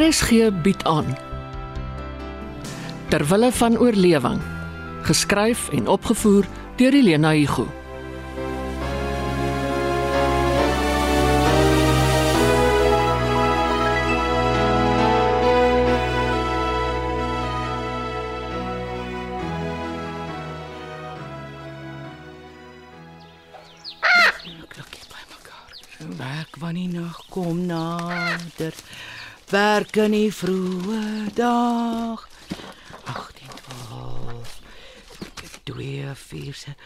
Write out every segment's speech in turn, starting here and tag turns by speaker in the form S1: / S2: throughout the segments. S1: RSG bied aan Terwille van oorlewing geskryf en opgevoer deur Elena Igu
S2: Klokkies by mekaar. Werk wanneer nag kom nader. Werk in die vroeë dag. 18:12. 24.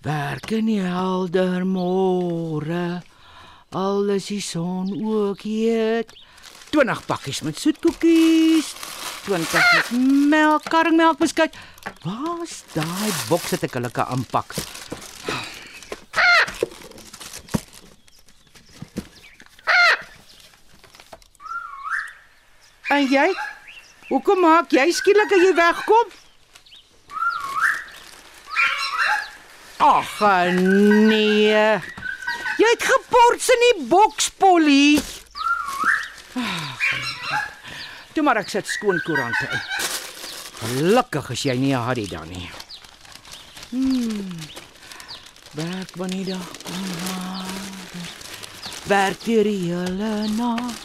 S2: Werk in die helder môre. Al is die son ook heet. 20 pakkies met soetkoekies. 20 met melk, karringmelk, beskuit. Waar's daai boks wat ek hulle kan aanpak? En jy? Hoekom maak jy skielik as jy wegkom? Ag nee. Jy het geports in die boks, Polly. Ag, Toe maar ek sit skoon koerante in. Gelukkig is jy nie 'n harry dan nie. Hmm. Werk wanneer dag kom. nader. Werk deur die hele nag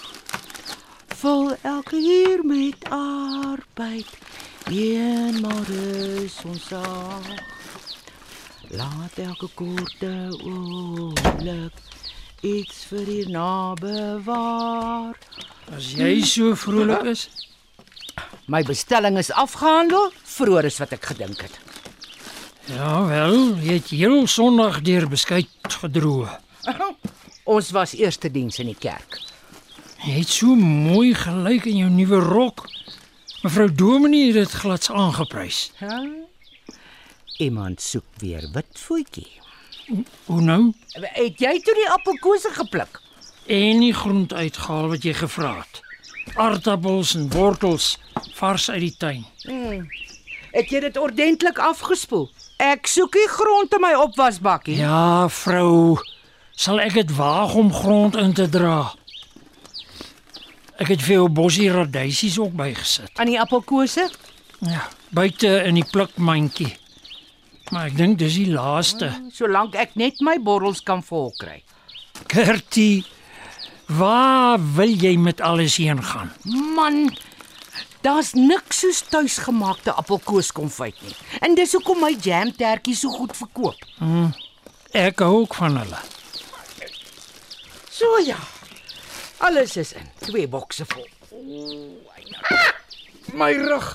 S2: vul elke uur met arbeid. Een maar is ons saak. Laat elke korte oomblik iets vir hierna bewaar.
S3: As jy so vrolik is,
S2: My bestelling is afgehandel, vroeër as wat ek gedink het.
S3: ja wel, jy het heel Sondag deur beskuit gedroog.
S2: Ons was eerste diens in die kerk.
S3: Jy het so mooi gelyk in jou nuwe rok. Mevrou Dominee het dit glads aangeprys.
S2: Huh? Iemand soek weer witvoetjie.
S3: Hoe nou?
S2: Het jy toe die appelkose gepluk?
S3: En die groente uitgehaal wat jy gevra het. Aartappels en wortels vars uit die tuin.
S2: Het jy dit ordentlik afgespoel? Ek soek die grond in my opwasbakkie.
S3: Ja, vrou, sal ek dit waag om grond in te dra? Ek het vir jou bosie radysies ook bygesit.
S2: Aan die appelkose?
S3: Ja, buite in die plukmandjie. Maar ek dink dis die laaste.
S2: Solank ek net my borrels kan vol kry.
S3: Gertie, waar wil jy met alles heen gaan?
S2: Man, daar's niks soos tuisgemaakte appelkooskonfyt nie. En dis hoekom my jamtertjies so goed verkoop.
S3: Ek hou ook van hulle.
S2: So ja. Alles is in twee bokse vol.
S3: My rug.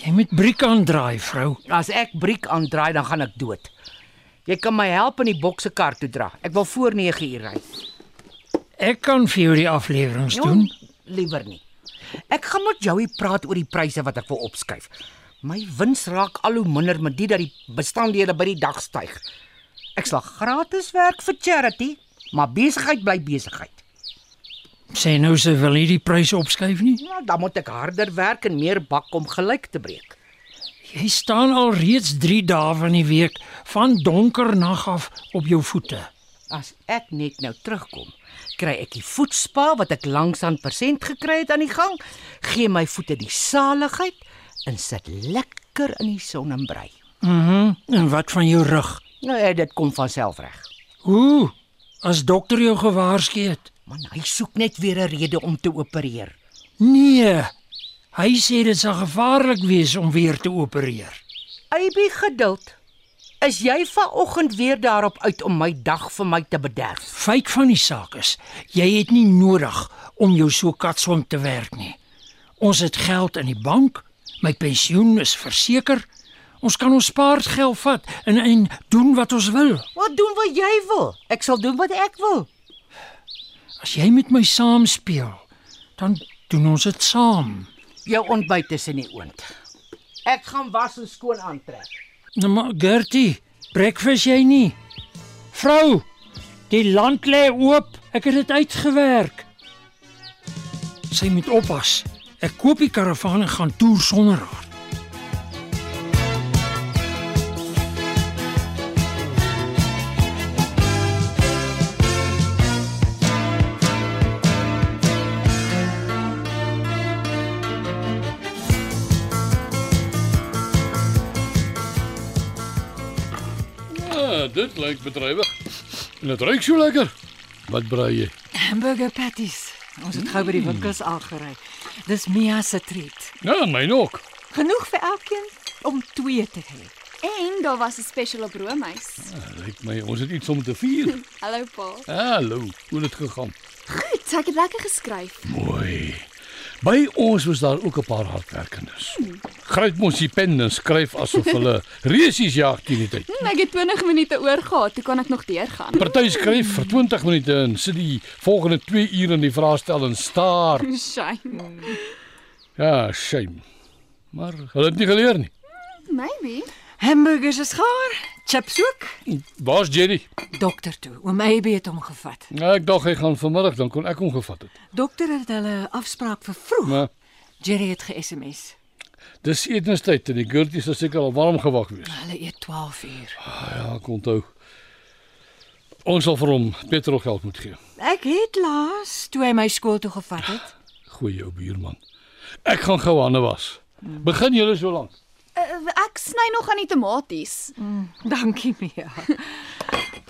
S3: Jy moet briek aandraai, vrou.
S2: As ek briek aandraai, dan gaan ek dood. Jy kan my help in die bokse kar toe dra. Ek wil voor 9 uur ry.
S3: Ek kan vir jou die afleweringe doen.
S2: Jong, Liewer nie. Ek gaan met Joey praat oor die pryse wat ek wil opskuif. My wins raak al hoe minder met dit dat die bestandhede by die dag styg. Ek sal gratis werk vir charity, maar besigheid bly besigheid.
S3: Sê nou se wil jy die pryse opskuif nie?
S2: Nou, dan moet ek harder werk en meer bak om gelyk te breek.
S3: Jy staan al reeds 3 dae van die week van donker nag af op jou voete.
S2: As ek net nou terugkom, kry ek die voetspa wat ek langs aan persent gekry het aan die gang, gee my voete die saligheid en sit lekker in die son en brei.
S3: Mhm. Mm en wat van jou rug?
S2: Nou, eh, dit kom van self reg.
S3: Ooh, as dokter jou gewaarsku het.
S2: Man, nou, hy soek net weer 'n rede om te opereer.
S3: Nee. Hy sê dit sal gevaarlik wees om weer te opereer.
S2: Eybe geduld. Is jy vanoggend weer daarop uit om my dag vir my te bederf?
S3: Feit van die saak is, jy het nie nodig om jou so katswang te werk nie. Ons het geld in die bank, my pensioen is verseker. Ons kan ons spaargeld vat en en doen wat ons wil.
S2: Wat doen wat jy wil? Ek sal doen wat ek wil.
S3: As jy met my saam speel, dan doen ons dit saam.
S2: Jou ontbyt is in die oond. Ek gaan was en skoon aantrek.
S3: Nou maar Gertie, breakfast jy nie? Vrou, die land lê oop. Ek het dit uitgewerk. Sy moet oppas. Ek koop die karavaan en gaan toer sonder haar.
S4: Ja, dit klink bedrywig. En dit ruik so lekker. Wat braai jy?
S5: Hamburger patties. Ons het gou by die winkels
S3: Hmm.
S5: aangery. Dis Mia se treat.
S4: Ja, myn ook.
S5: Genoeg vir elkeen om 2 te hê.
S6: En daar was 'n special op roomys.
S4: Lyk my ons het iets om te vier.
S6: Hallo pa.
S4: Hallo, hoe het dit gegaan?
S6: Goed, ek het lekker geskryf.
S4: Mooi. By ons was daar ook 'n paar hardwerkendes. Gryp mos die pen en skryf asof hulle reusies jag teen die tyd.
S6: Hm, Ek het 20 minute oor gehad, toe kan ek nog deurgaan.
S4: Party skryf vir 20 minute en sit die volgende 2 ure in die vraestel en staar.
S6: Shame.
S4: Ja, shame. Maar hulle het nie geleer nie.
S6: Maybe.
S5: Hamburgers is gaar, chips ook.
S4: Waar's Jerry?
S5: Dokter toe. Oom Abby het hom gevat.
S4: Ja, ek dink hy gaan vanmiddag dan kon ek hom gevat het.
S5: Dokter het hulle 'n afspraak vir vroeg.
S4: Maar
S5: Jerry het ge-SMS.
S4: dis etenstyd en die girties sal seker al warm gewag wees.
S5: Hulle eet 12 uur.
S4: Ja, ek onthou. Ons sal vir hom petrolgeld moet gee.
S5: Ek het laas toe hy my skool toe gevat het.
S4: Goeie jou buurman. Ek gaan gou hande was. Begin julle so lank.
S6: Uh, ek sny nog aan die tomaties.
S5: Dankie Mia.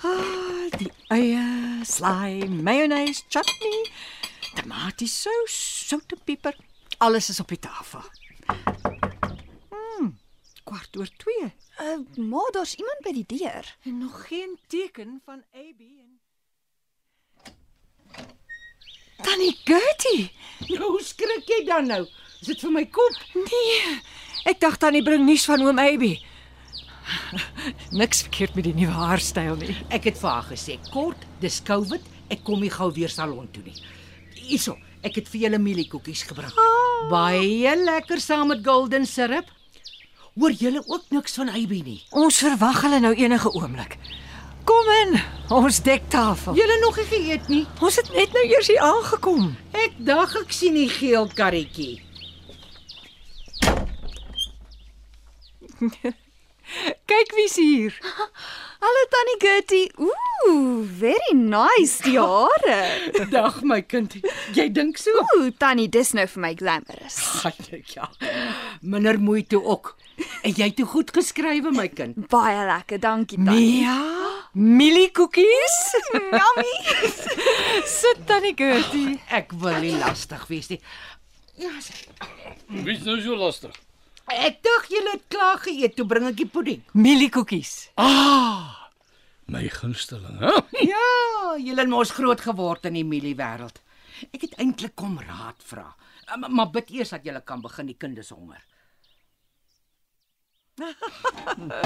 S5: Ah, die eie, slaai, mayonnaise, chutney, tomatiesous, sout en peper. Alles is op die tafel. Mm, kwart oor 2
S6: Uh, maar daar's iemand by die deur.
S5: en nog geen teken van AB en Tannie Gertie.
S2: Nou skrik jy dan nou. Is dit vir my kop?
S5: Nee. Ek dacht tannie bring nuus van oom Abby. Niks verkeerd met die nuwe haarstyl nie.
S2: Ek het vir haar gesê, kort, dis COVID, ek kom nie gou weer salon toe nie. Hierso, ek het vir julle mieliekoekies gebring.
S5: Ah.
S2: Oh. Baie lekker saam met golden syrup. Hoor julle ook niks van Abby nie?
S5: Ons verwag hulle nou enige oomblik. Kom in, ons dektafel.
S2: Julle nog nie geëet nie.
S5: Ons het net nou eers hier aangekom.
S2: Ek dag ek sien die geel karretjie.
S5: Kyk wie's hier.
S6: Hallo tannie Gertie. Ooh, very nice die hare.
S2: Dag my kind. Jy dink so?
S6: Ooh, tannie, dis nou vir my glamorous.
S2: Ag ja. Minder moeite ook. En jy het toe goed geskrywe my kind.
S6: Baie lekker, dankie tannie. Hmm,
S5: Mia, mieliekoekies.
S6: Nee. Yummy.
S5: Sit tannie Gertie.
S2: Ek wil nie lastig wees nie.
S4: Wie's nou so lastig?
S2: Ek dink julle het klaar geëet, toe bring ek die pudding.
S5: Mieliekoekies.
S4: My gunsteling, hè?
S2: Ja, julle het mos groot geword in die mieliewêreld. Ek het eintlik kom raad vra. Eh, ma- Maar bid eers dat julle kan begin die kinders honger.
S5: Ah,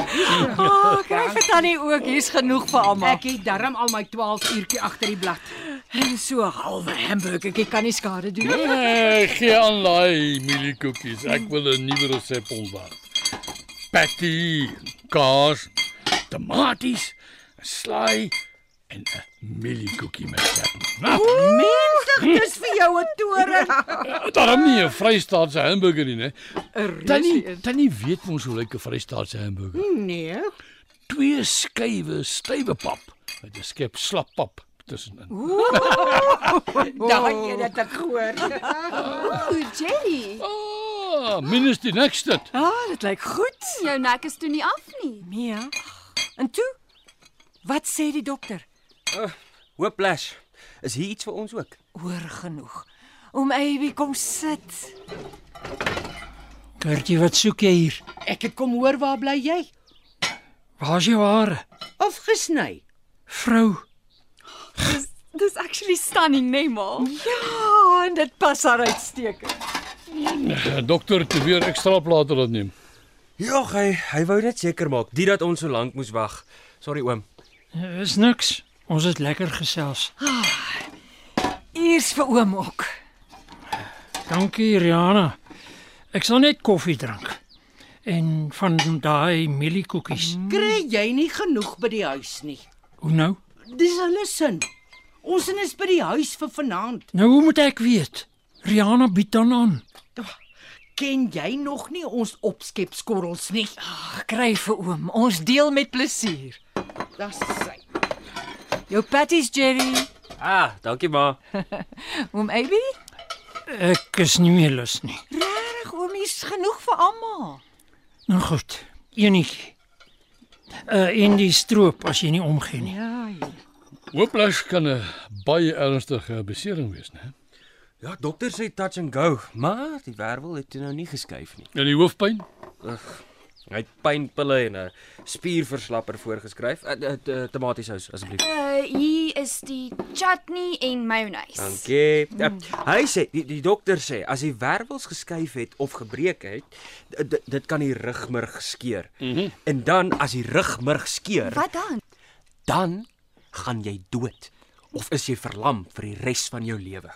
S5: oh, kry vir tannie ook, hier's genoeg vir almal.
S2: Ek het darm al my 12 uurtjie agter die blad.
S5: En so 'n halwe hamburgertjie kan nie skade doen nie.
S4: Nee, gee aan daai mieliekoekies. Ek wil 'n nuwe resep ontwerp. Patty, kaas, tomaties, slaai en 'n mieliekoekie met chutney. Nou,
S2: Menslik, dis vir jou 'n toren.
S4: daarom nie 'n Vrystaatse hamburger nie, né? Tannie, tannie weet mos hoe lyk 'n Vrystaatse hamburger.
S2: Nee.
S4: Twee skywe stywe pap met 'n skep slap pap tussenin.
S2: Daai een het ek gehoor.
S6: Ooh, Jerry.
S4: Ah, minus die nekste.
S5: Ah, oh, dit lyk goed.
S6: Jou nek is toe nie af nie.
S5: Mia. En toe? Wat sê die dokter?
S7: Hoop Lash, is hier iets vir ons ook?
S5: Hoor genoeg. Oom Abby, kom sit.
S3: Gertjie, wat soek jy hier?
S2: Ek het kom hoor waar bly jy?
S3: Waar's jou hare?
S2: Afgesny.
S3: Vrou,
S6: Dis dis actually stunning, nee ma.
S5: Ah, en dit pas haar uitstekend.
S4: Ja, Dokter, te weer ekstra plate laat neem.
S7: Ja, hy hy wou net seker maak dit dat ons so lank moes wag. Sorry oom.
S3: is niks. Ons het lekker gesels.
S5: Ah, Eers vir oom ook.
S3: Dankie, Rihanna. Ek sal net koffie drink en van daai mieliekoekies.
S2: Kry jy nie genoeg by die huis nie?
S3: Hoe nou?
S2: Dis hulle sin. Ons sin is by die huis vir vanaand.
S3: Nou hoe moet ek weet? Rihanna bied dan aan.
S2: Ken jy nog nie ons opskepskorrels nie?
S5: Gekry vir oom. Ons deel met plesier.
S2: Dis sy.
S5: Jou patties, Jerry.
S7: Ah, dankie ma.
S5: Oom Abby,
S3: Ek is nie meer lus nie.
S5: reg oomie's genoeg vir almal.
S3: Nou goed, enetjie. uh, en die stroop as jy nie omgee nie.
S5: Ja, ja.
S4: Hooplash kan 'n baie ernstige besering wees, né?
S7: Ja, dokter sê touch and go, maar die wervel het toe nou nie geskuif nie.
S4: En die hoofpyn?
S7: Hy het pynpille en 'n spierverslapper voorgeskryf. Uh, uh, uh, Tomatiesous asseblief.
S6: Uh hier is die chutney en mayonnaise.
S7: Dankie. Uh, hy sê die, die dokter sê as die wervels geskuif het of gebreek het, d- d- dit kan die rugmurg skeer. Mm -hmm. En dan as die rugmurg skeer,
S6: Wat dan?
S7: dan gaan jy dood of is jy verlam vir die res van jou lewe.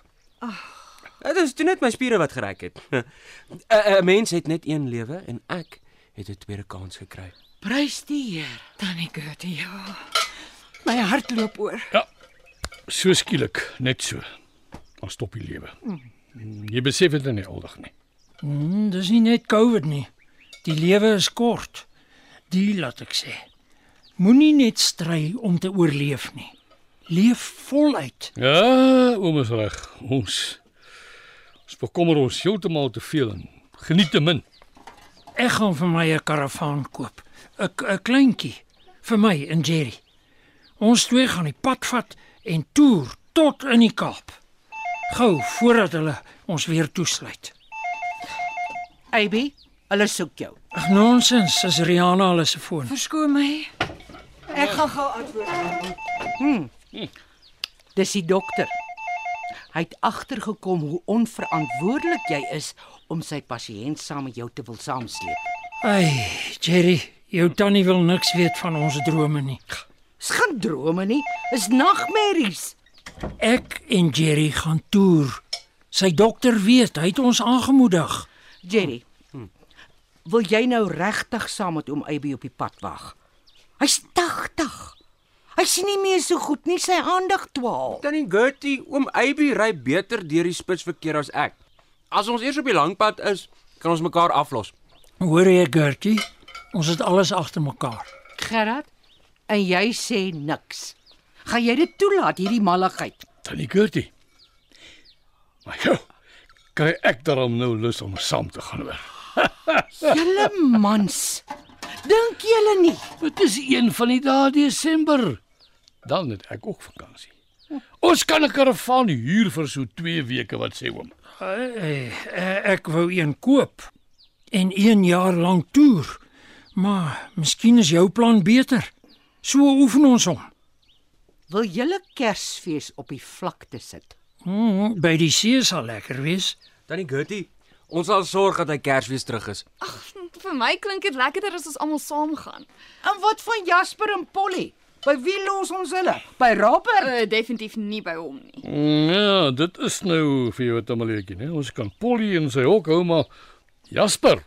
S7: Dit is toe net my spiere wat gereg het. 'n- Eh, 'n Mens het net een lewe en ek het 'n tweede kans gekry.
S2: Prys die Here.
S5: Tannie Gertie, ja. My hart loop oor.
S4: So skielik, net so. Dan stop die lewe. Jy besef dit nou nie aldag nie.
S3: Hmm, dis nie net COVID nie. Die lewe is kort. Die laat ek sê. Moenie net stry om te oorleef nie. Leef voluit.
S4: Ja, oom is reg. Ons ons bekommer ons heeltemal te veel en geniet te min.
S3: Ek gaan vir my 'n karavaan koop. 'n k- 'n kleintjie vir my en Jerry. Ons twee gaan die pad vat en toer tot in die Kaap. Gou voordat hulle ons weer toesluit.
S2: Abby, hulle soek jou.
S3: Ag nonsens, is Rihanna al se foon.
S5: Verskoon my. Ek gaan gou antwoord.
S2: Dis die dokter. Hy het agtergekom hoe onverantwoordelik jy is om sy pasiënt saam met jou te wil saamsleep.
S3: Ai, Jerry, jou tannie wil niks weet van ons drome nie.
S2: Dis geen drome nie, is nagmerries.
S3: Ek en Jerry gaan toer. Sy dokter weet, hy het ons aangemoedig.
S2: Jerry. Wil jy nou regtig saam met oom Abby op die pad wag? Hy's 80. Hy sien nie meer so goed nie, sy aandag dwaal.
S7: Tannie Gertie, oom Aby ry beter deur die spitsverkeer as ek. As ons eers op die langpad is, kan ons mekaar aflos.
S3: Hoor jy, Gertie? Ons het alles agter mekaar.
S2: Gerard, en jy sê niks. Gaan jy dit toelaat hierdie malligheid?
S4: Tannie Gertie. Maar jou, kry ek daarom nou lus om saam te gaan weer.
S2: Julle mans. Dink julle nie?
S4: Dit is een van die dae Desember. Dan het ek ook vakansie. Ons kan 'n karavaan huur vir so 2 weke wat sê oom.
S3: Hey, Eh, ek wou een koop en 1 jaar lank toer. Maar miskien is jou plan beter. So oefen ons hom.
S2: Wil julle Kersfees op die vlakte sit?
S3: Hmm, by die see sal lekker wees.
S7: Tannie Gertie, ons sal sorg dat hy Kersfees terug is.
S6: Vir my klink dit lekkerder as ons almal saam gaan.
S2: En wat van Jasper en Polly? By wie los ons hulle? By Robert?
S6: Uh definitief nie by hom nie.
S4: Mm, Ja, dit is nou vir jou tamaletjie, né? Ons kan Polly in sy hok hou, maar Jasper,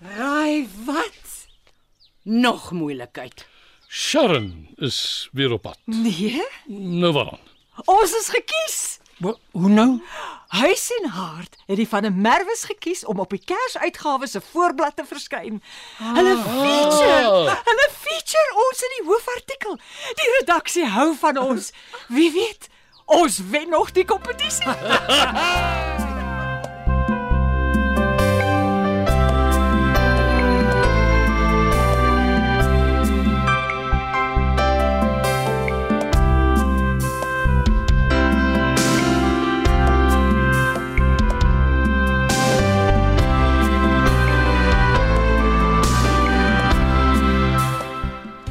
S2: Raai wat? Nog moeilikheid.
S4: Sharon is weer op pad.
S5: Nee,
S4: Nou wat dan?
S5: ons is gekies.
S3: Wo- Hoe nou?
S5: Huis en Hart het die van 'n Merwes gekies om op die Kersuitgawe se voorblad te verskyn. Hulle feature, hulle feature ons in die hoofartikel. Die redaksie hou van ons. Wie weet, ons wen nog die kompetisie.